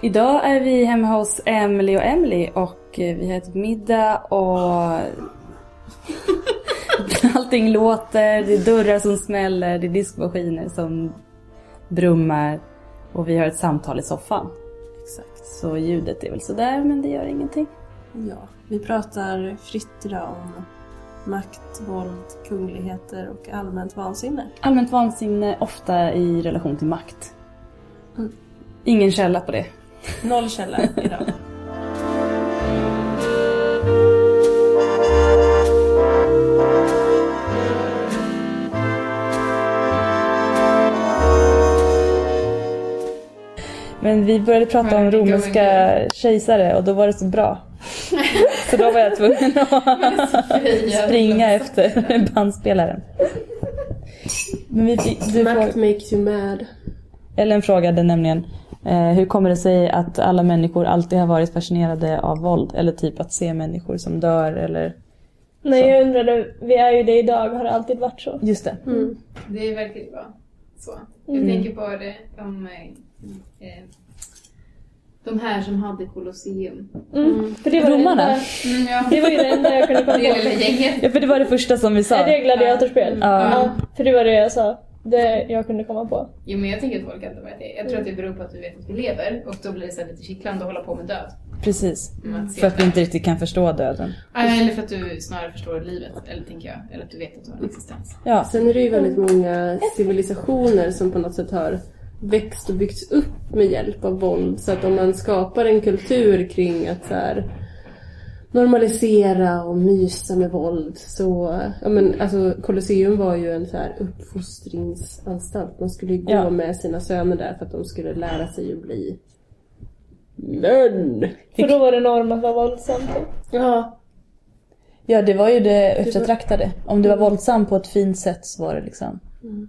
Idag är vi hemma hos Emily och Emily och eh, vi har ätit middag och allting låter, det är dörrar som smäller, det är diskmaskiner som brummar och vi har ett samtal i soffan. Exakt. Så ljudet är väl sådär men det gör ingenting. Ja, vi pratar fritt idag om makt, våld, kungligheter och allmänt vansinne. Allmänt vansinne, ofta i relation till makt. Mm. Ingen källa på det. Noll källa idag. Men vi började prata om Mm, romerska kejsare och då var det så bra. så då var jag tvungen att springa efter bandspelaren. Men vi, du får, Makt makes you mad. Ellen frågade nämligen eh, hur kommer det sig att alla människor alltid har varit fascinerade av våld? Eller typ att se människor som dör eller... Nej, Så. jag undrade, vi är ju det idag, har det alltid varit så? Just det. Mm. Det är verkligen bra. Så. Jag Mm. tänker på det om eh, eh, de här som hade Colosseum. Mm. För det var Romarna? Det, enda, Mm, ja. det var ju det enda jag kunde komma Det på. lilla gänget. Ja, för det var det första som vi sa. Är det gladiatorspel? Ja. Ja, för det var det jag sa. Det jag kunde komma på. Jo men jag tänker att folk ändå vet det. Jag tror att det beror på att vi vet att vi lever och då blir det så här lite kittlande att hålla på med död. Precis. Mm, att se För att vi det. inte riktigt kan förstå döden. Ah, Eller för att du snarare förstår livet, eller tänker jag. Eller att du vet att du har en existens. Ja. Sen är det ju väldigt många civilisationer som på något sätt har växt och byggts upp med hjälp av våld. Så att om man skapar en kultur kring att så här normalisera och mysa med våld så... Ja men alltså Colosseum var ju en så här uppfostringsanstalt. Man skulle ju gå Ja. med sina söner där för att de skulle lära sig att bli män. För då var det norm att vara våldsam. Mm. typ. Ja. Ja, det var ju det eftertraktade. Om du var våldsam på ett fint sätt så var det liksom Mm.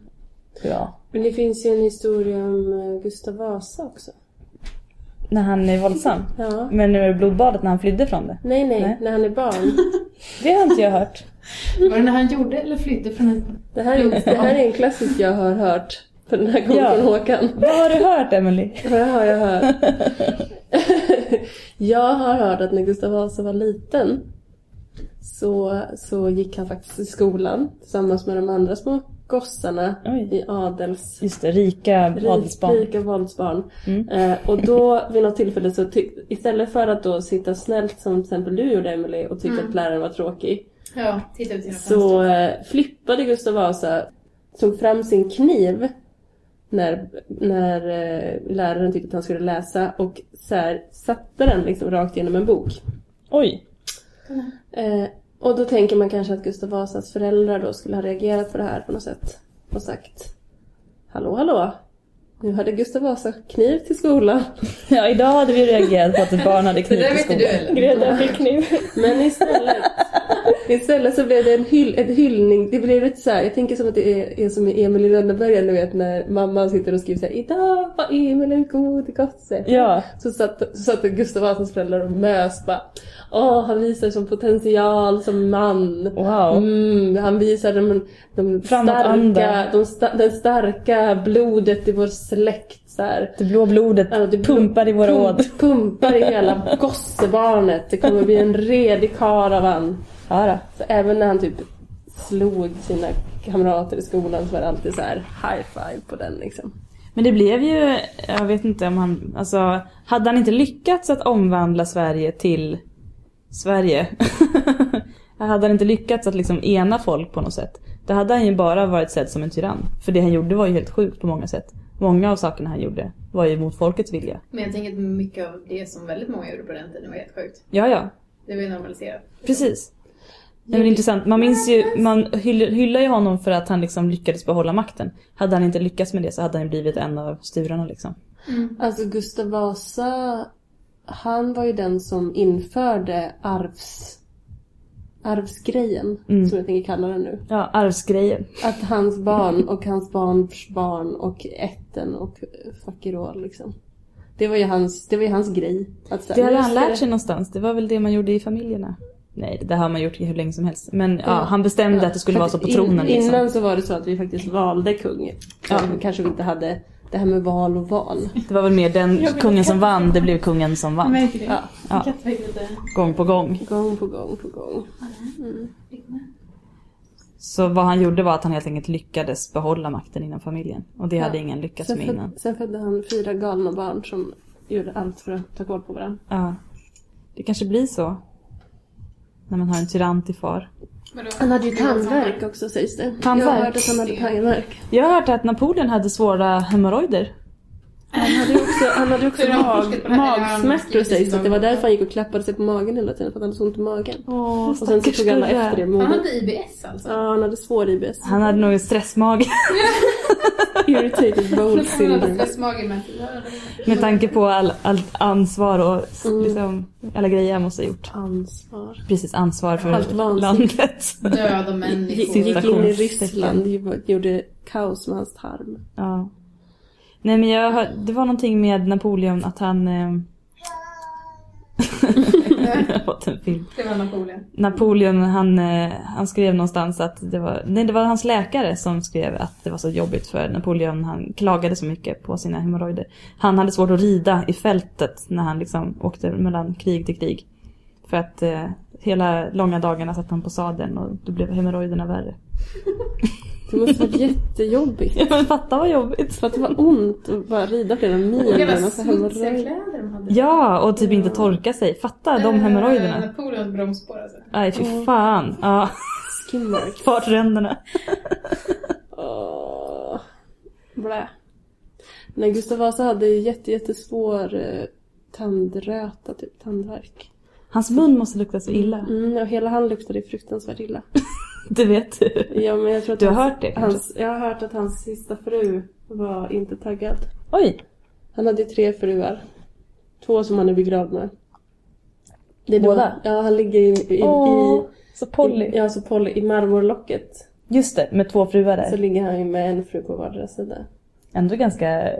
bra. Men det finns ju en historia om eh, Gustav Vasa också. När han är våldsam. Ja. Men nu är det blodbadet när han flydde från det. Nej, nej, Nej. när han är barn. Det har inte jag hört. Var det när han gjorde eller flydde från en... Det här, är, det här är en klassisk jag har hört. För den här kommer Ja. från Håkan. Vad har du hört, Emily? Vad har jag hört? jag har hört att när Gustav Vasa var liten så, så gick han faktiskt i skolan tillsammans med de andra små gossarna Oj. i adels... Just det, rika adelsbarn. Rika våldsbarn. Mm. Eh, och då vid något tillfälle så tyck- istället för att då sitta snällt som till exempel du gjorde Emily och tycka Mm. att läraren var tråkig Ja, titta ut genom Så eh, flippade Gustav Vasa, tog fram sin kniv när, när eh, läraren tyckte att han skulle läsa och så här, satte den liksom rakt genom en bok. Oj. Eh, och då tänker man kanske att Gustav Vasas föräldrar då skulle ha reagerat på det här på något sätt och sagt Hallå hallå! Nu hade Gustav Vasa kniv till skolan. Ja, idag hade vi reagerat på att ett barn hade Det kniv där i vet inte du skolan. eller? Greta fick kniv. Men istället, istället så blev det en hyll, ett hyllning. Det blev lite så här, jag tänker som att det är, är som i Emil i Lönneberga, du vet när mamman sitter och skriver så här, Idag var Emil en god gosse. Ja. Så satt, så satt Gustav Vasas föräldrar och mös bara. Åh, han visar som potential som man. Wow. Mm, han visar de, de Framåtanda. starka, de sta, den starka blodet i vår släkt. Så här. Det blå blodet Alltså, det pumpar i våra Pump- ådror. Pumpar i hela gossebarnet. Det kommer bli en redig karl av han. Ja, då. Så även när han typ slog sina kamrater i skolan så var det alltid så här high five på den liksom. Men det blev ju, jag vet inte om han, alltså hade han inte lyckats att omvandla Sverige till Sverige? hade han inte lyckats att liksom ena folk på något sätt? Då hade han ju bara varit sedd som en tyrann. För det han gjorde var ju helt sjukt på många sätt. Många av sakerna han gjorde var ju mot folkets vilja. Men jag tänker att mycket av det som väldigt många gjorde på den tiden var helt sjukt. Ja, ja, Det var ju normaliserat. precis. Nej, men det är intressant. Man minns ju, man hyll- hyllar ju honom för att han liksom lyckades behålla makten. Hade han inte lyckats med det så hade han ju blivit en av sturarna liksom. Alltså Gustav Vasa, han var ju den som införde arvs, arvsgrejen, Mm. som jag tänker kalla den nu. Ja, arvsgrejen. Att hans barn och hans barns barn och ätten och fuckerall liksom. Det var ju hans, det var ju hans grej. Att så här, Det hade han nu ska lärt sig någonstans. Det var väl det man gjorde i familjerna. Nej, det har man gjort hur länge som helst. Men ja, Ja. han bestämde Ja, att det skulle vara så på faktiskt. tronen. In, Liksom. Innan så var det så att vi faktiskt valde kung. Ja. Ja. Kanske vi inte hade det här med val och val. Det var väl mer den Jag vill kungen inte- som vann, det blev kungen som vann. Verkligen. Ja. Ja. Jag kan inte det. Gång på gång. Gång på gång på gång. Mm. Så vad han gjorde var att han helt enkelt lyckades behålla makten inom familjen. Och det Ja. hade ingen lyckats Sen, med föd, innan. sen födde han fyra galna barn som gjorde allt för att ta koll på varandra. Ja. Det kanske blir så. När man har en tyrann till far. Vadå? Han hade ju Det var tandvärk också sägs det. Tandvärk? Jag har hört att han hade tandvärk. Jag har hört att Napoleon hade svåra hemorrojder. Han hade ju också, han hade ju också Hur har han forskat mag, på det här? Eller har han magsmärtor skrivit sägs i det. sin Det var dagbok? därför han gick och klappade sig på magen hela tiden, för att han hade så ont i magen. Åh, Och sen så tog alla efter det Han modet. hade IBS alltså? Ja, han hade svår IBS. Han hade nog en stressmage. Irritated bowel Han hade syndrome. stressmagen med att göra Med tanke på all- allt ansvar och s- Mm. liksom, alla grejer han måste ha gjort. Ansvar. Precis, ansvar för Allt vansinnigt. landet. död och Gick, människor. gick in i Citationstecken. Ryssland gjorde- gjorde kaos med hans tarm. Ja. Nej men jag hör, det var någonting med Napoleon att han... Eh, jag har fått en film. Det var Napoleon. Napoleon han, eh, han skrev någonstans att det var, nej det var hans läkare som skrev att det var så jobbigt för Napoleon han klagade så mycket på sina hemorrojder. Han hade svårt att rida i fältet när han liksom åkte mellan krig till krig. För att eh, hela långa dagarna satt han på sadeln och då blev hemorrojderna värre. Det måste varit jättejobbigt. Ja men fatta vad jobbigt! För att det var ont att bara rida flera mil. Det var med massa smutsiga hemorrojder. kläder de hade. Ja och typ inte torka sig, fatta de Eh, hemorrojderna. Napoleons bromsspår alltså. Nej fy fan. Ja, Skimmark. bort ränderna. Åh. Blä. Nej, Gustav Vasa hade ju jätte, jättesvår eh, tandröta, typ tandvärk. Hans mun måste lukta så illa. Mm, och hela han luktade ju fruktansvärt illa. Det vet du. Ja, men jag tror att Du har hans, hört det kanske? hans, Jag har hört att hans sista fru var inte taggad. Oj. Han hade ju tre fruar. Två som han är begravd med. Det är då- Båda? Ja, han ligger i, i, Åh, så i, Polly. i, ja, så Polly, i marmorlocket. Just det, med två fruar Så där. ligger han ju med en fru på vardera sida. Ändå ganska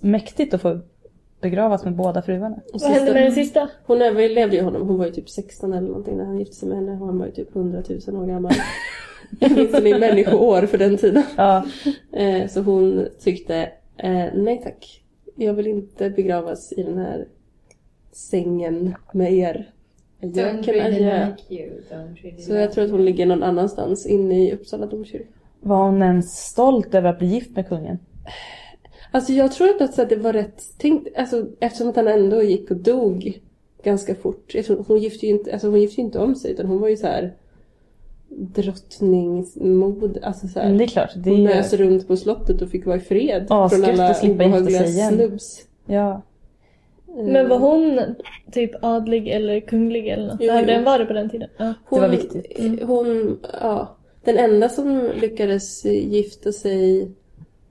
mäktigt att få begravas med båda fruarna. Och Vad hände sista- med den sista? Mm. Hon överlevde ju honom. Hon var ju typ 16 eller någonting när han gifte sig med henne. och Han var ju typ 100 000 år gammal. Åtminstone i människoår för den tiden. Ja, Eh, Så hon tyckte, eh, nej tack. Jag vill inte begravas i den här sängen med er. Don't Jag kan really adjö. like you, don't really Så jag tror att hon ligger någon annanstans inne i Uppsala domkyrka. var hon ens stolt över att bli gift med kungen? Alltså jag tror ändå att så här, det var rätt tänkt. Alltså, eftersom att han ändå gick och dog ganska fort. Jag tror, hon, gifte ju inte, alltså, hon gifte ju inte om sig utan hon var ju så här drottningsmod. Alltså så här, Men det är klart, det hon är nös ju... runt på slottet och fick vara i fred Ja, från skött alla och slippa gifta sig igen. snubbs. Ja. Eh, Men var hon typ adlig eller kunglig eller något? Jo, Hade jo. den varit på den tiden? Ja. Det var hon- viktigt. eh, Hon, ja. Den enda som lyckades eh, gifta sig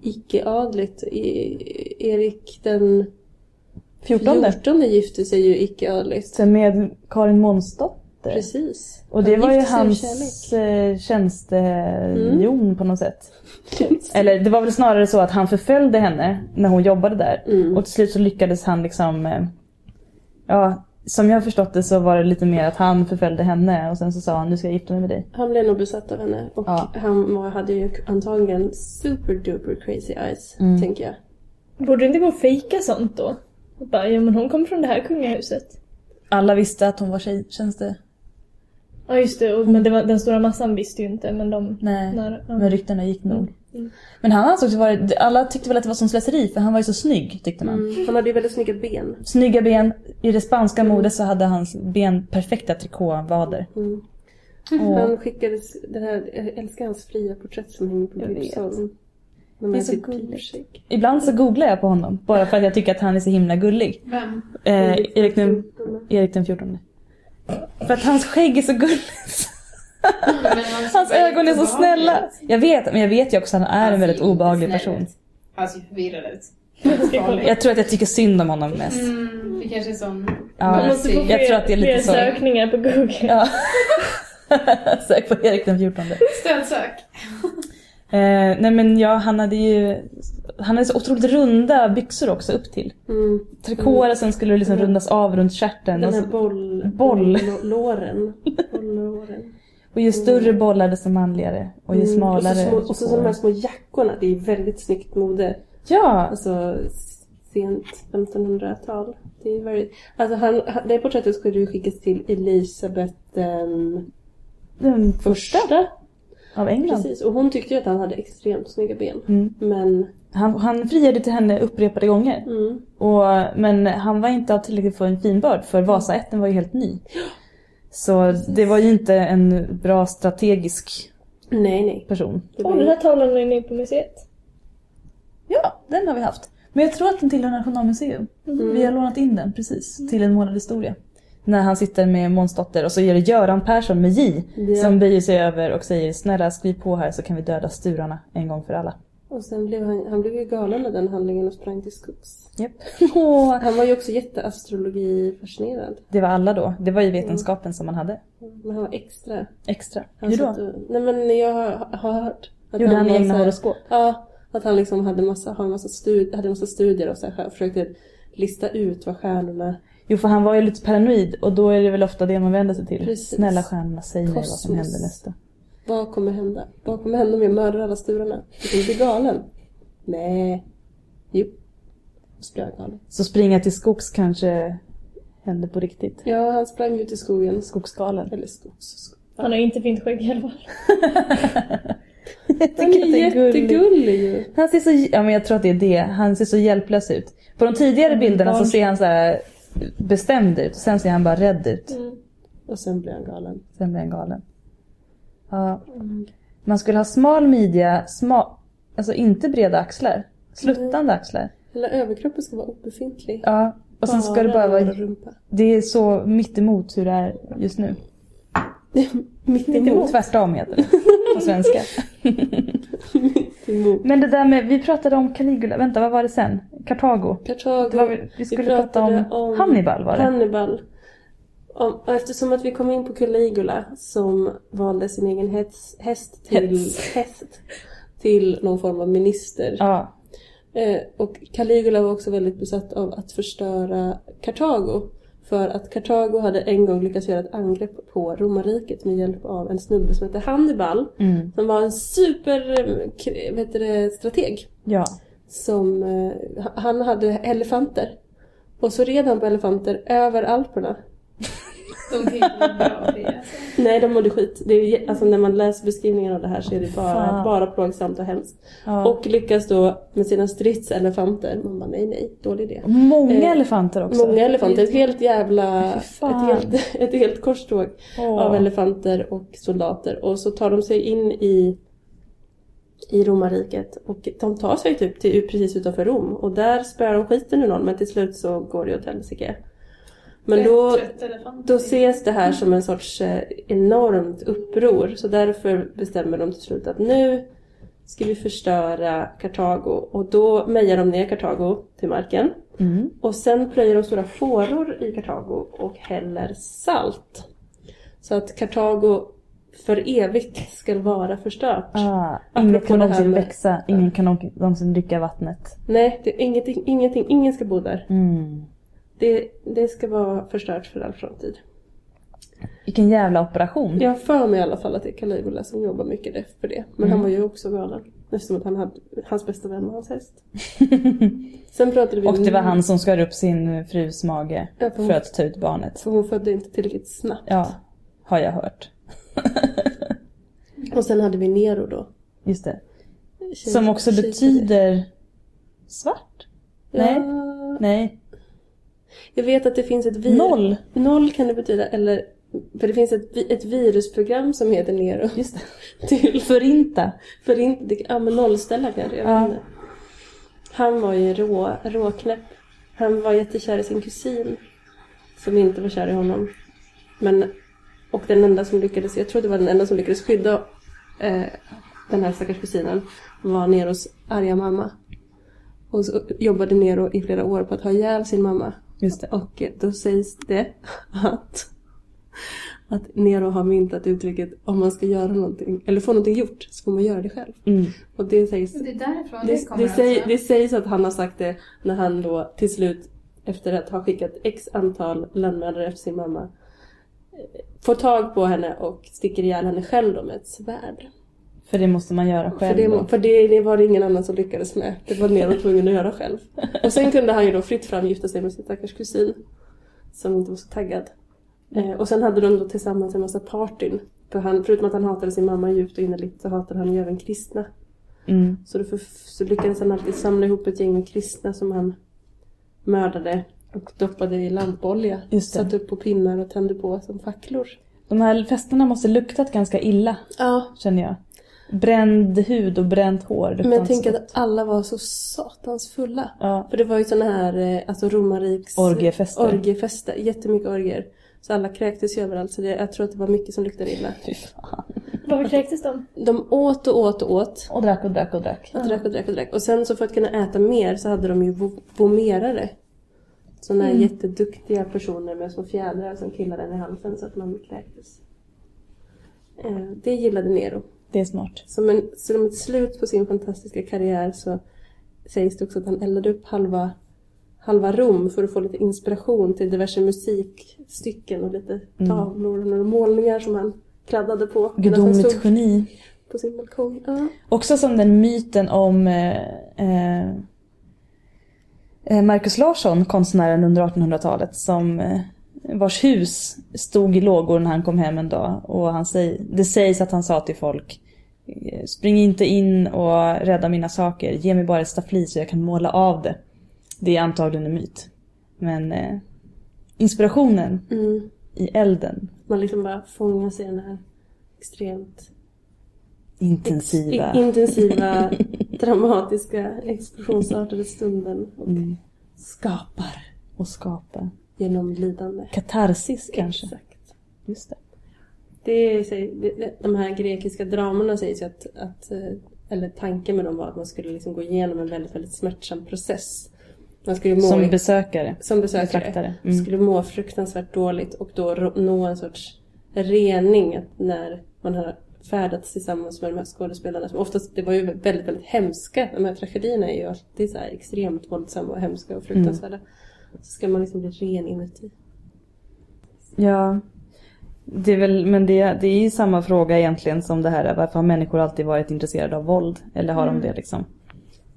icke-adligt, E- Erik den 14. 14 gifte sig ju icke-adligt. Sen med Karin Månsdotter. Precis. Och det Han var ju gifte sig av Mm. hans eh, tjänstejon på något sätt. eh, Eller det var väl snarare så att han förföljde henne när hon jobbade där. Mm. Och till slut så lyckades han liksom... eh, Ja, som jag har förstått det så var det lite mer att han förföljde henne och sen så sa han nu ska jag gifta mig med dig. Han blev nog besatt av henne och Ja. han var, hade ju antagligen super duper crazy eyes, Mm. tänker jag. Borde det inte gå att fejka sånt då? Och bara, ja men hon kommer från det här kungahuset. Alla visste att hon var tjejtjänste. Ja just det, och, men det var, den stora massan visste ju inte men de Nej. nära. Ja. Men ryktena gick nog. Mm. Men han ansågs vara... Alla tyckte väl att det var som slöseri för han var ju så snygg tyckte man. Mm. Han hade ju väldigt snygga ben. Snygga ben. I det spanska modet så hade hans ben perfekta trikåvader. Mm. Och- Han skickades, den här, jag älskar hans fria porträtt som hänger på Jag vet. Gripsholm. De Det är är så typ gulligt. pipshake. Ibland så googlar jag på honom bara för att jag tycker att han är så himla gullig. Vem? Eh, Mm. Erik, den, Erik den 14. För att hans skägg är så gulligt. Men alltså, Hans ögon är så snälla. Jag vet, men jag vet ju också att han är en väldigt obehaglig person. Han ser förvirrad ut. Jag tror att jag tycker synd om honom mest. Mm, det kanske är sån... Ja. Man måste få Jag fler, tror att det är lite fler så. sökningar på Google. Ja. Sök på Erik den 14. Eh, Stödsök. nej men ja, han hade ju... Han hade så otroligt runda byxor också upp till. Mm. Trikåer och sen skulle det liksom rundas av runt stjärten. Den Och, här så, boll... Boll. boll- Låren. Bollåren. och ju större bollar desto manligare. Och ju Mm. Och så, smalare. små, och så, så de här små jackorna, det är väldigt snyggt mode. Ja, Alltså sent 1500-tal. Det är väldigt... Alltså han, han- det porträttet skulle ju skickas till Elisabeth den den första första. av England. Precis, och hon tyckte ju att han hade extremt snygga ben. Mm. Men, Han, han friade till henne upprepade gånger. mm, Och, men han var inte av tillräckligt för en finbörd för Vasaätten var ju helt ny. Så det var ju inte en bra strategisk nej nej. person. Det Åh, var den ju... här tavlan är inne på museet. Ja, den har vi haft. Men jag tror att den tillhör Nationalmuseum. Mm. Vi har lånat in den precis till en målad historia. När han sitter med Månsdotter och så är det Göran Persson med J Ja. som böjer sig över och säger snälla skriv på här så kan vi döda sturarna en gång för alla. Och sen blev han, han blev ju galen av den handlingen och sprang till skogs. Japp. Åh, Han var ju också jätteastrologi-fascinerad. Det var alla då. Det var ju vetenskapen som man hade. Men han var extra. Extra. Han Hur då? satt och- Nej men jag har, har hört. Att Gjorde han var så egna här- horoskop? Ja, att han liksom hade massa, har en massa, stud, hade en massa studier och så här, försökte lista ut vad stjärnorna... Jo, för han var ju lite paranoid och då är det väl ofta det man vänder sig till. Precis. Snälla stjärnorna, säg mig vad som Kosmos. händer nästa. Vad kommer hända? Vad kommer hända om jag mördar alla sturarna? Jag kommer bli galen. Nej. Jo. Så blev jag galen. Så springa till skogs kanske händer på riktigt. Ja, han sprang ut i skogen. Skogsgalen. Eller skogs... skog. Han har inte fint skägg i alla fall. Jag Han tycker är att det gulligt. jättegullig ju. Han ser så, ja men jag tror att det är det. Han ser så hjälplös ut. På de tidigare bilderna så ser han så här bestämd ut. Sen ser han bara rädd ut. Och sen blev han galen. Sen blir han galen. Ja. Man skulle ha smal midja, sma, alltså inte breda axlar. Sluttande axlar. Hela överkroppen ska vara obefintlig. Ja. Och sen ska det bara lår vara och rumpa. Det är så mittemot hur det är just nu. Mitt Mittemot. emot. Tvärtom heter det på svenska. Mitt emot. Men det där med, vi pratade om Caligula, vänta vad var det sen? Kartago. Kartago. Det var, vi- vi skulle prata om, pratade om- Hannibal var det. Hannibal. Om, och eftersom att vi kom in på Caligula som valde sin egen hets, häst till Hets. häst till någon form av minister. Ja. Eh, och Caligula var också väldigt besatt av att förstöra Kartago. För att Kartago hade en gång lyckats göra ett angrepp på romarriket med hjälp av en snubbe som hette Hannibal. Mm. Som var en super eh, kr- vad heter det, strateg Ja. som, eh, ha- han hade elefanter. Och så red han på elefanter över Alperna. De kan ju inte bli bra på det. alltså. Nej, de mådde skit. Det är, ju jä- alltså, när man läser beskrivningen av det här så är det bara, Fan. bara plågsamt och hemskt. ja. Och lyckas då med sina stridselefanter. Man bara, nej, nej, dålig idé. Många eh, elefanter också. Många elefanter, ett helt jävla... Fy Ett fan. helt, ett helt korståg Åh. av elefanter och soldater. Och så tar de sig in i, i romarriket. Och de tar sig typ till, precis utanför Rom. Och där spöar de skiten ur någon. Men till slut så går det åt helsike. Men då, Trött elefant. då ses det här som en sorts eh, enormt uppror. Så därför bestämmer de till slut att nu ska vi förstöra Kartago. Och då mejar de ner Kartago till marken. Mm. Och sen plöjer de stora fåror i Kartago och häller salt. Så att Kartago för evigt ska vara förstört. Ah, ingen Apropå kan det här någonsin med- växa, ingen kan någonsin- någonsin dricka vattnet. Nej, det är ingenting, ingenting, ingen ska bo där. Mm. Det, det ska vara förstört för all framtid. Vilken jävla operation. Jag har för mig i alla fall att det är Caligula som jobbar mycket det- för det. Men Mm. han var ju också galen. Eftersom att han hade, hans bästa vän var hans häst. Sen pratade vi Och det var han som skar upp sin frus mage Ja, för hon- för att ta ut barnet. För hon födde inte tillräckligt snabbt. Ja, har jag hört. Och sen hade vi Nero då. Just det. Kejs- Som också kejsare. betyder svart? Nej. Ja, Nej, Jag vet att det finns ett virus. noll. Noll kan det betyda, eller... För det finns ett, vi- ett virusprogram som heter Nero. Just det. Till, Förinta. för inte, det- ja men nollställa kanske, jag vet Ja. inte. Han var ju rå, råknäpp. Han var jättekär i sin kusin. Som inte var kär i honom. Men, och den enda som lyckades, jag tror det var den enda som lyckades skydda eh, den här stackars kusinen var Neros arga mamma. Och så jobbade Nero i flera år på att ha ihjäl sin mamma. Just det. Och då sägs det att, att Nero har myntat uttrycket om man ska göra någonting, eller få någonting gjort, så får man göra det själv. Mm. Och det sägs, Det är därifrån det, det, kommer det, säg, alltså. det sägs att han har sagt det när han då till slut, efter att ha skickat x antal lönnmördare efter sin mamma, eh, får tag på henne och sticker ihjäl henne själv då med ett svärd. För det måste man göra själv. För det, då. för det, det var det ingen annan som lyckades med. Det var Nero tvungen att göra själv. Och sen kunde han ju då fritt fram gifta sig med sin stackars kusin. Som inte var så taggad. Eh, och sen hade de då tillsammans en massa partyn. För han, förutom att han hatade sin mamma djupt och innerligt så hatade han ju även kristna. Mm. Så, då för, så lyckades han alltid samla ihop ett gäng med kristna som han mördade och doppade i lampolja. Just det. Satte upp på pinnar och tände på som facklor. De här festerna måste luktat ganska illa, Ja, känner jag. Bränd hud och bränt hår. luktar men jag inte så tänker gott. att alla var så satans fulla. Ja, För det var ju såna här eh, alltså romarriks... orgiefester. Orgiefester. Jättemycket orger. Så alla kräktes ju överallt så det, jag tror att det var mycket som luktade illa. Fy fan. Varför kräktes de? De åt och åt och åt. Och drack och drack och drack. Och drack och drack och drack. Och sen så för att kunna äta mer så hade de ju vo- vomerare. Såna här jätteduktiga personer med små fjädrar som killade en i halsen så att man kräktes. Eh, Det gillade Nero. Det är smart. Som, en, som ett slut på sin fantastiska karriär så sägs det också att han eldade upp halva, halva Rom för att få lite inspiration till diverse musikstycken och lite Mm. tavlor och några målningar som han kladdade på. medan han Gudomligt stod geni. på sin balkong. Ja. Också som den myten om eh, eh, eh, Marcus Larsson, konstnären under 1800-talet, som eh, vars hus stod i lågor när han kom hem en dag. Och han säg, det sägs att han sa till folk eh, Spring inte in och rädda mina saker. Ge mig bara ett staffli så jag kan måla av det. Det är antagligen en myt. Men eh, inspirationen Mm. i elden, Man liksom bara fångas i den här extremt intensiva. i- intensiva dramatiska explosionsartade stunden och Mm. skapar Och skapa. genom lidande. Katarsis kanske. Exakt. Just det. Det är, säg- det- det- de här grekiska dramerna sägs ju att, att, eh, eller tanken med dem var att man skulle liksom gå igenom en väldigt, väldigt smärtsam process. Man skulle må Som i- besökare. som besökare Betraktare. Mm. skulle må fruktansvärt dåligt och då ro- nå en sorts rening att när man har färdats tillsammans med de här skådespelarna som oftast, det var ju väldigt, väldigt hemska. De här tragedierna är ju alltid så här extremt våldsamma och hemska och fruktansvärda. Mm. Så ska man liksom bli ren inuti. Ja. Det är väl, men det, det är ju samma fråga egentligen som det här varför har människor alltid varit intresserade av våld? Eller har de det liksom?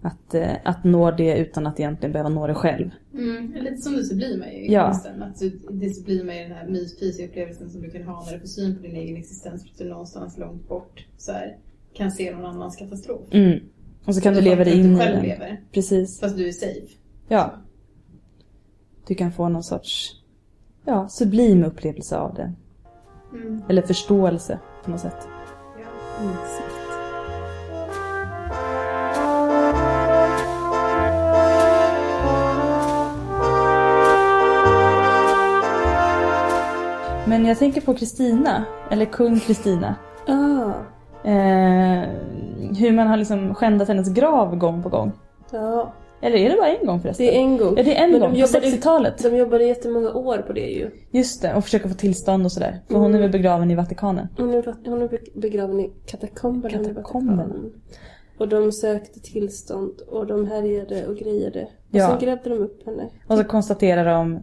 Att, eh, att nå det utan att egentligen behöva nå det själv. Mm, lite som du så blir man ju i Ja. konsten. Att du, det så blir man ju den här myspysiga upplevelsen som du kan ha när du får syn på din egen existens för att du någonstans långt bort så här, kan se någon annans katastrof. Mm. Och så kan du fattar leva dig att in i Du själv den. lever, Precis. fast du är safe. Ja. Du kan få någon sorts ja, sublim upplevelse av det. Mm. Eller förståelse på något sätt. Ja. Insikt. Men jag tänker på Kristina, eller kung Kristina. Ah, Eh, hur man har liksom skändat hennes grav gång på gång. ja, Eller är det bara en gång förresten? det är en gång. Ja, det är en Men de gång. På jobbade- 60-talet. De jobbade jättemånga år på det ju. Just det, och försöka få tillstånd och sådär. För hon är Mm. väl begraven i Vatikanen. Hon är, vat- hon är be- begraven i katakomberna. i Katakomberna. Vatikanen. Och de sökte tillstånd och de härjade och grejade. Och Ja. sen grävde de upp henne. Och så konstaterar de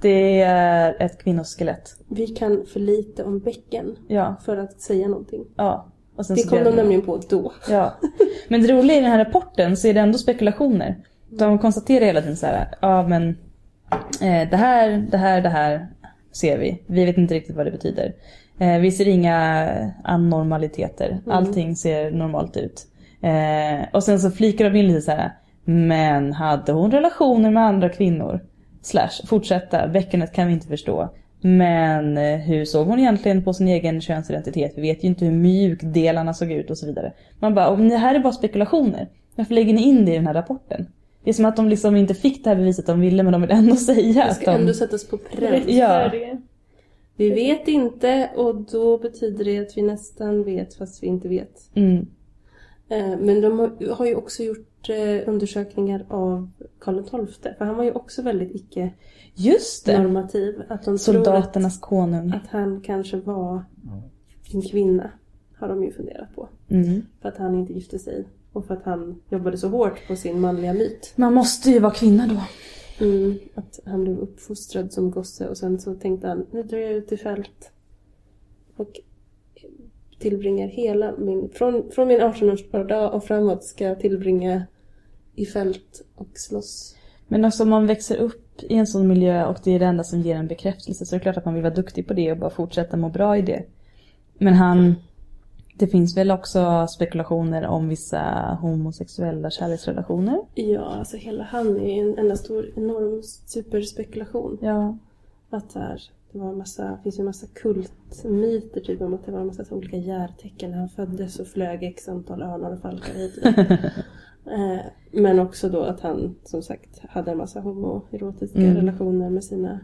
det är ett kvinnoskelett. Vi kan för lite om bäcken Ja, för att säga någonting. ja. Och sen Det så kom de gräver nämligen på då. Ja. Men det roliga i den här rapporten så är det ändå spekulationer. De konstaterar hela tiden så här, ja men eh, det här, det här, det här ser vi. Vi vet inte riktigt vad det betyder. Eh, vi ser inga Mm. anormaliteter. Allting ser normalt ut. Eh, och sen så flikar de in lite så här, men hade hon relationer med andra kvinnor? Slash, fortsätta, bäckenet kan vi inte förstå. Men eh, hur såg hon egentligen på sin egen könsidentitet? Vi vet ju inte hur mjukdelarna såg ut och så vidare. Man bara, om det här är bara spekulationer. Varför lägger ni in det i den här rapporten? Det är som att de liksom inte fick det här beviset de ville men de vill ändå säga Det att ska de... ändå sättas på pränt. Ja. det. Vi vet inte och då betyder det att vi nästan vet fast vi inte vet. Mm, Eh, Men de har- har ju också gjort eh, undersökningar av Karl XII. För han var ju också väldigt just det! icke-normativ. Att de tror att Soldaternas konung. Att han kanske var en kvinna har de ju funderat på. Mm. För att han inte gifte sig och för att han jobbade så hårt på sin manliga myt. Man måste ju vara kvinna då. Att han blev uppfostrad som gosse och sen så tänkte han nu drar jag ut i fält och tillbringar hela min... Från, från min 18-årsdag och framåt ska jag tillbringa i fält och slåss. Men också om man växer upp i en sån miljö och det är det enda som ger en bekräftelse så är det klart att man vill vara duktig på det och bara fortsätta må bra i det. Men han... Det finns väl också spekulationer om vissa homosexuella kärleksrelationer? Ja, alltså hela han är ju en enda stor enorm superspekulation. Ja. Att det, här, det var en massa, det finns ju en massa kultmyter typ om att det var en massa så olika järtecken när han föddes och flög x antal örnar och falkar hit. och dit. eh, men också då att han som sagt hade en massa homoerotiska Mm. relationer med sina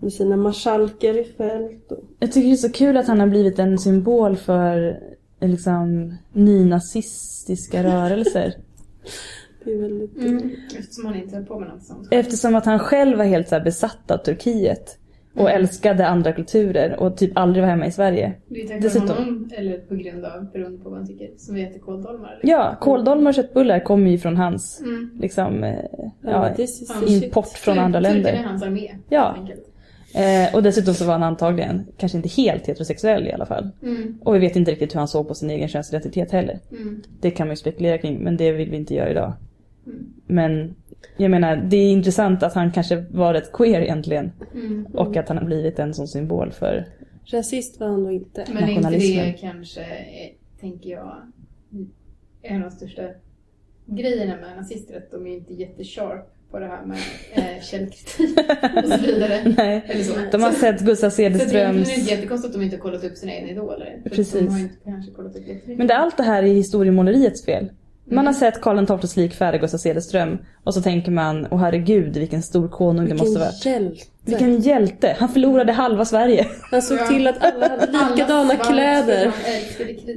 med sina marskalker i fält. Och, Jag tycker det är så kul att han har blivit en symbol för eh, liksom nynazistiska rörelser. det är väldigt... Mm. Eftersom han inte höll på med något sånt. Eftersom att han själv var helt så här besatt av Turkiet. Och älskade andra kulturer och typ aldrig var hemma i Sverige. Det är tack Dessutom- vare honom, eller på grund av, beroende på vad man tycker, som vi äter kåldolmar. liksom. Ja, kåldolmar och köttbullar kommer ju från hans Mm. liksom, eh, Ja, ja, this is Ja, the shit. import från andra Turkarna länder. är hans armé. helt Ja, enkelt. eh, och dessutom så var han antagligen kanske inte helt heterosexuell i alla fall. Mm. Och vi vet inte riktigt hur han såg på sin egen könsidentitet heller. Mm. Det kan man ju spekulera kring, men det vill vi inte göra idag. Mm. Men jag menar, det är intressant att han kanske var rätt queer egentligen. Mm. Och att han har blivit en sån symbol för... Rasist var han då inte. Mm, Men är inte det nationalismen. kanske, eh, tänker jag, en av de största grejerna med nazister, att de är inte jättesharp på det här med eh, källkritik och så vidare. Nej. Eller så. De har sett Gustav Så det är Cederströms... egentligen inte jättekonstigt att de inte har kollat upp sina egna idoler. För att Precis. De har inte kanske kollat upp jättemycket. Men det, allt det här är historiemåleriets fel. Man Mm. har sett Karl XIIs likfärg Gustav Cederström och så tänker man, åh herregud vilken stor konung det måste Vilken vara. hjälte. Vilken hjälte! Han förlorade halva Sverige. Han såg Ja. till att alla hade likadana kläder.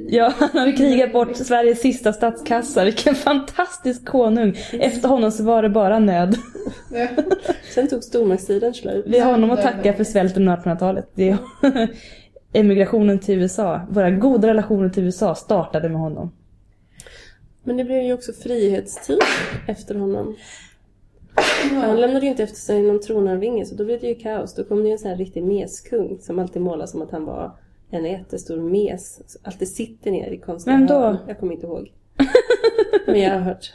Ja, han har krigat bort Sveriges sista statskassa. Vilken fantastisk konung! Efter honom så var det bara nöd. Sen tog stormaktstiden slut. Vi har honom att tacka för svälten under 1800-talet. Det är emigrationen till USA. Våra goda relationer till USA startade med honom. Men det blev ju också frihetstid efter honom. Han lämnade ju inte efter sig någon tronarvinge så då blev det ju kaos. Då kom det ju en sån här riktig meskung som alltid målas som att han var en jättestor mes. som Alltid sitter ner i konstiga Vem då? hörn. Jag kommer inte ihåg. Men jag har hört.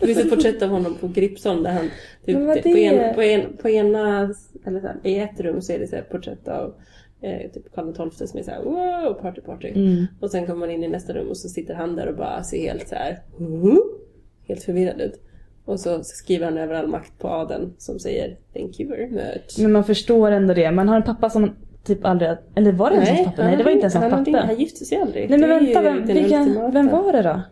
Det finns ett porträtt av honom på Gripsholm där han Men vad typ, på, en, det? på, en, på ena, eller så här, i ett rum så är det så här porträtt av eh, typ Karl XII som är såhär wow, party party. Mm. Och sen kommer man in i nästa rum och så sitter han där och bara ser helt så här "Huh?" helt förvirrad ut. Och så skriver han över all makt på adeln som säger thank you very much. Men man förstår ändå det. Man har en pappa som typ aldrig... Eller var det ens hans pappa? Nej, det var inte ens hans han, hade- pappa. Han gifte sig aldrig. Nej men Det är ju vänta, vem, den ultimata. vilken, vem var det då?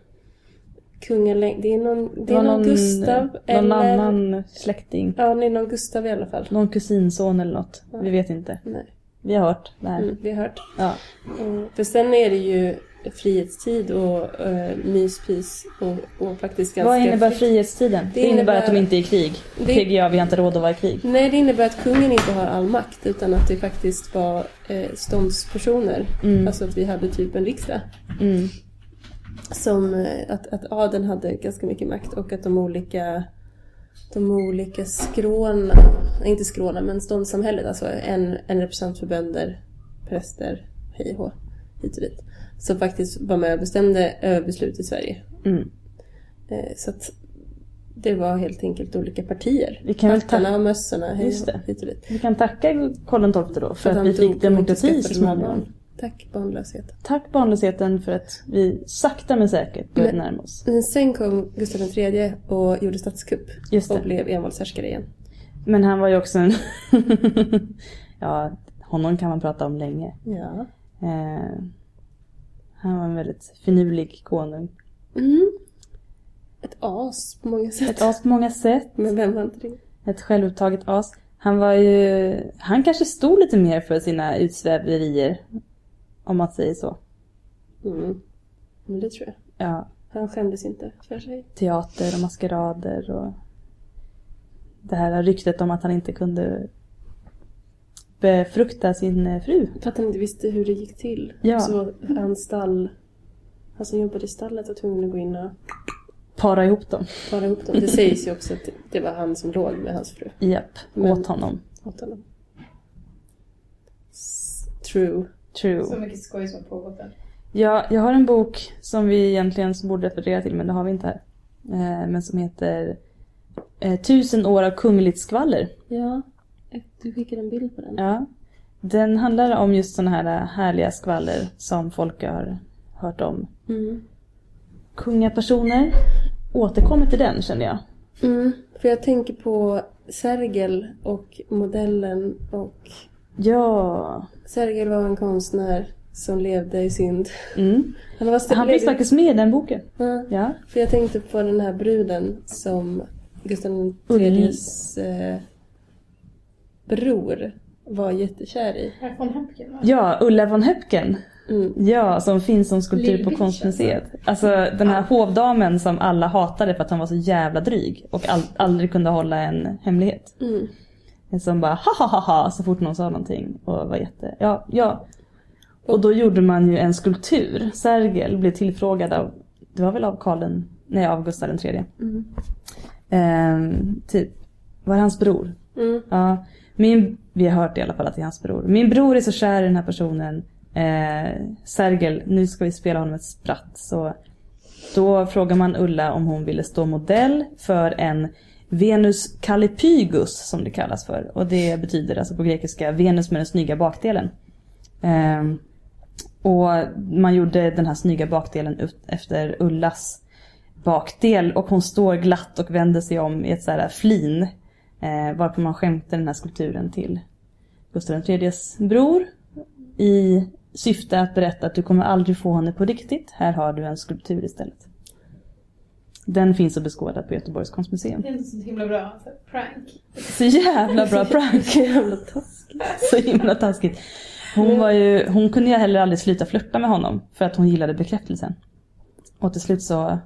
Kungaläng... Det är någon, det är var någon, Gustav någon eller... annan släkting. Ja, det är någon Gustav i alla fall. Någon kusinson eller något. Vi vet inte. Nej, Vi har hört det här. mm, vi har hört. Ja. Mm. För sen är det ju frihetstid och uh, myspys och, och faktiskt ganska... Vad innebär frihetstiden? Det, innebär, innebär- att de inte är i krig. Det- PGA, vi har inte råd att vara i krig. Nej, det innebär att kungen inte har all makt utan att det faktiskt var eh, ståndspersoner. Mm. Alltså att vi hade typ en riksdag. Mm. Som, eh, att, att adeln hade ganska mycket makt och att de olika de olika skråna, nej, inte skråna men ståndssamhället, alltså en, en representant för bönder, präster, hej och hå, hit och dit. Som faktiskt var med och bestämde över beslut i Sverige. Mm. Eh, så att det var helt enkelt olika partier. Vi kan väl Hattarna och mössorna, hej Just och hå, det. hit och dit. Vi kan tacka Karl XII då för att han vi dog fick och inte demokrati så skaffade några småningom. barn. Tack barnlösheten. Tack barnlösheten för att vi sakta men säkert började Men- närma oss. Men sen kom Gustav III och gjorde statskupp Just och det. blev envåldshärskare igen. Men han var ju också en... ja, honom kan man prata om länge. Ja. Eh, han var en väldigt finurlig konung. Mm. Ett as på många sätt. Ett as på många sätt. Men vem var inte det? Ett självupptaget as. Han var ju... Han kanske stod lite mer för sina utsväverier. Om man säger så. Mm. Men det tror jag. Ja, Han skämdes inte för sig. teater och maskerader och det här ryktet om att han inte kunde befrukta sin eh, fru. För att han inte visste hur det gick till. Ja. Så han stall... Han som jobbade i stallet var tvungen att gå in och Para ihop dem. para ihop dem. Det sägs ju också att det var han som låg med hans fru. Japp, Men- åt honom. åt honom. S- True. True. Så mycket skoj som har pågått där. Ja, jag har en bok som vi egentligen borde referera till men det har vi inte här. Eh, Men som heter eh, Tusen år av kungligt skvaller. Ja. Du skickade en bild på den. Ja. Den handlar om just sådana här äh, härliga skvaller som folk har hört om. Mm. Kungapersoner. Återkommer till den känner jag. Mm. För jag tänker på Sergel och modellen och Ja. Sergel var en konstnär som levde i synd. Mm. Han, var Han finns faktiskt med i den boken. Ja. Ja. För jag tänkte på den här bruden som Gustav IIIs eh, bror var jättekär i. Här från Hempken va? ja, Ulla von Höpken. Mm. Ja, som finns som skulptur Lill på Bitch, konstmuseet. Alltså den här hovdamen som alla hatade för att hon var så jävla dryg och all, aldrig kunde hålla en hemlighet. Mm. Som bara ha ha ha ha så fort någon sa någonting och var jätte... Ja, ja. Och då gjorde man ju en skulptur. Sergel blev tillfrågad av, det var väl av Karl den, nej av Gustav den tredje. Mm. Ehm, typ, var det hans bror? Mm. Ja, min, vi har hört i alla fall att det är hans bror. Min bror är så kär i den här personen. Eh, Sergel, nu ska vi spela honom ett spratt. Så då frågar man Ulla om hon ville stå modell för en Venus Callipygus som det kallas för. Och det betyder alltså på grekiska Venus med den snygga bakdelen. Eh, och man gjorde den här snygga bakdelen ut- efter Ullas bakdel och hon står glatt och vänder sig om i ett så här flin. Eh, varpå man skämtar den här skulpturen till Gustav IIIs bror. I syfte att berätta att du kommer aldrig få henne på riktigt. Här har du en skulptur istället. Den finns att beskåda på Göteborgs konstmuseum. Det är inte så himla bra. Så här, prank. Så jävla bra prank! Så jävla taskigt. Så himla taskigt. Hon, var ju, hon kunde ju heller aldrig sluta flirta med honom för att hon gillade bekräftelsen. Och till slut så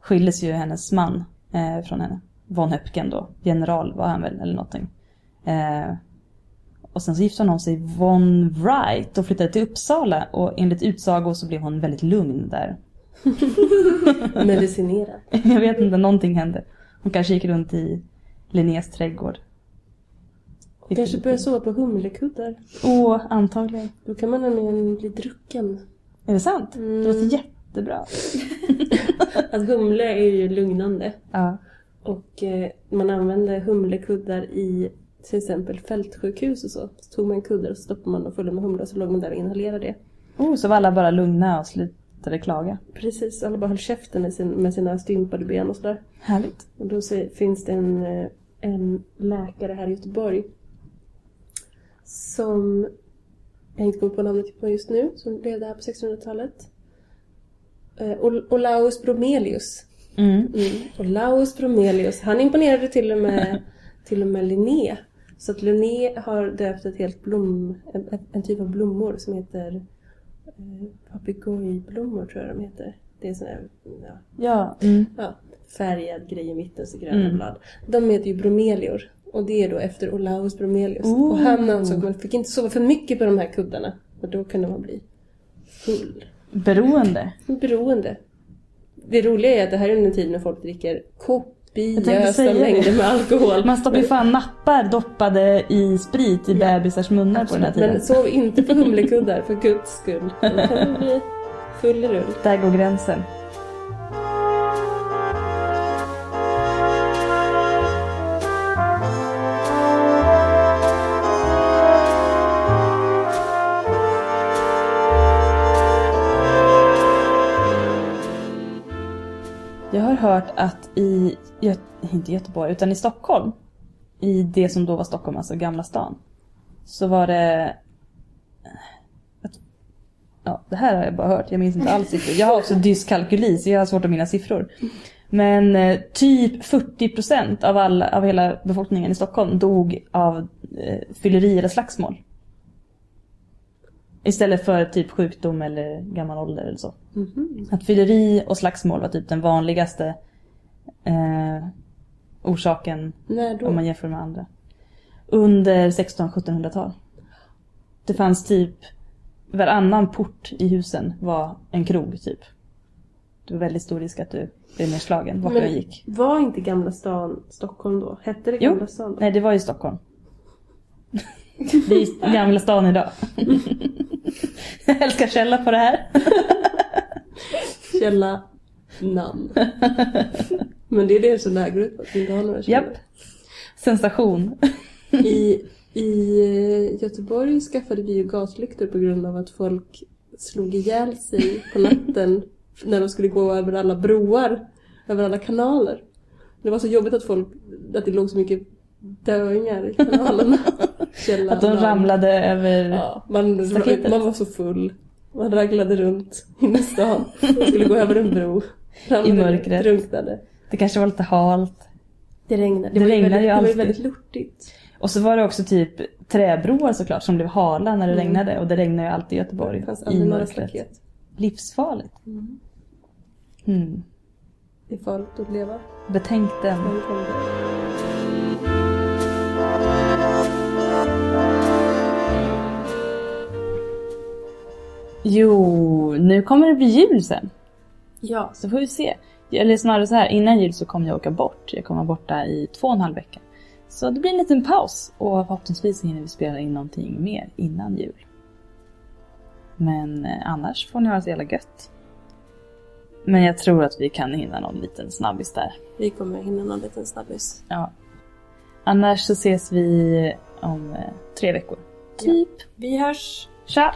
skildes ju hennes man eh, från henne. Von Höpken då. General var han väl eller någonting. Eh, och sen så gifte hon om sig Von Wright och flyttade till Uppsala och enligt utsago så blev hon väldigt lugn där. Medicinerad. Jag vet inte, någonting hände. Hon kanske gick runt i Linnés trädgård. Kanske börja sova på humlekuddar. Åh, antagligen. Då kan man nämligen bli drucken. Är det sant? Mm. Det låter jättebra. Att humle är ju lugnande. Ja. Och eh, man använde humlekuddar i till exempel fältsjukhus och så. Så tog man kuddar och så stoppade man dem fulla med humle och så låg man där och inhalerade det. Oh, så var alla bara lugna och slutade klaga. Precis, alla bara höll käften med, sin, med sina stympade ben och sådär. Härligt. Och då se- finns det en, eh, en läkare här i Göteborg som jag inte kommer på namnet på just nu, som levde här på 1600-talet. Eh, Ol- Olaus Bromelius. Mm. Mm. Olaus Bromelius, han imponerade till och med, till och med Linné. Så att Linné har döpt ett helt blom, en, en typ av blommor som heter eh, papegojblommor tror jag de heter. Det är sån här, ja, Ja. Mm. Ja, färgad grej i mitten så gröna Mm. blad. De heter ju bromelior. Och det är då efter Olaus Bromelius. Ooh. Och han ansåg att man fick inte sova för mycket på de här kuddarna. För då kunde man bli full. Beroende. Beroende. Det roliga är att det här är under tiden när folk dricker tänkte kopiösa säga det. mängder med alkohol. Man stoppar ju fan nappar doppade i sprit i bebisars munnar på den här tiden. Men sov inte på humlekuddar för guds skull. Då kan du bli full i rull. Där går gränsen. Jag har hört att i, Gö- inte Göteborg, utan i Stockholm, i det som då var Stockholm, alltså Gamla stan, så var det Ja, det här har jag bara hört. Jag minns inte alls siffror. Jag har också dyskalkyli så jag har svårt att minnas siffror. Men eh, typ 40% av, all, av hela befolkningen i Stockholm dog av eh, fylleri eller slagsmål. Istället för typ sjukdom eller gammal ålder eller så. Att fylleri och slagsmål var typ den vanligaste eh, orsaken När då? om man jämför med andra. Under 1600-1700-tal. Det fanns typ varannan port i husen var en krog typ. Det var väldigt stor risk att du blev nedslagen vart du Men- än gick. Var inte Gamla stan Stockholm då? Hette det Jo. Gamla stan då? Nej, det var ju Stockholm. Det är ju Gamla stan idag. Jag älskar källa på det här. Källa namn. Men det är det som det här går ut på, att vi inte har några källor. Sensation. I, I eh, Göteborg skaffade vi ju gaslyktor på grund av att folk slog ihjäl sig på natten när de skulle gå över alla broar, över alla kanaler. Det var så jobbigt att folk, att det låg så mycket döingar i kanalerna. Källa, Att de namn. ramlade över... Ja, man, Staketet. man var så full. Man raglade runt inne i stan. Skulle gå över en bro. Ramlade I mörkret. ner, Drunknade. Det kanske var lite halt. Det regnade. Det var regnar väldigt, ju Det var alltid. väldigt lortigt. Och så var det också typ träbroar såklart som blev hala när det Mm. regnade. Och det regnar ju alltid i Göteborg. Det fanns I aldrig några mörkret. staket. Livsfarligt. Mm. Det är farligt att leva. Betänk den. Man kan dö. Jo, nu kommer det bli jul sen. Ja. Så får vi se. Eller snarare så här, innan jul så kommer jag åka bort. Jag kommer vara borta i två och en halv vecka. Så det blir en liten paus och förhoppningsvis hinner vi spela in någonting mer innan jul. Men eh, annars får ni ha det så jävla gött. Men jag tror att vi kan hinna någon liten snabbis där. Vi kommer hinna någon liten snabbis. Ja. Annars så ses vi om eh, tre veckor. Typ. Vi hörs! Tja!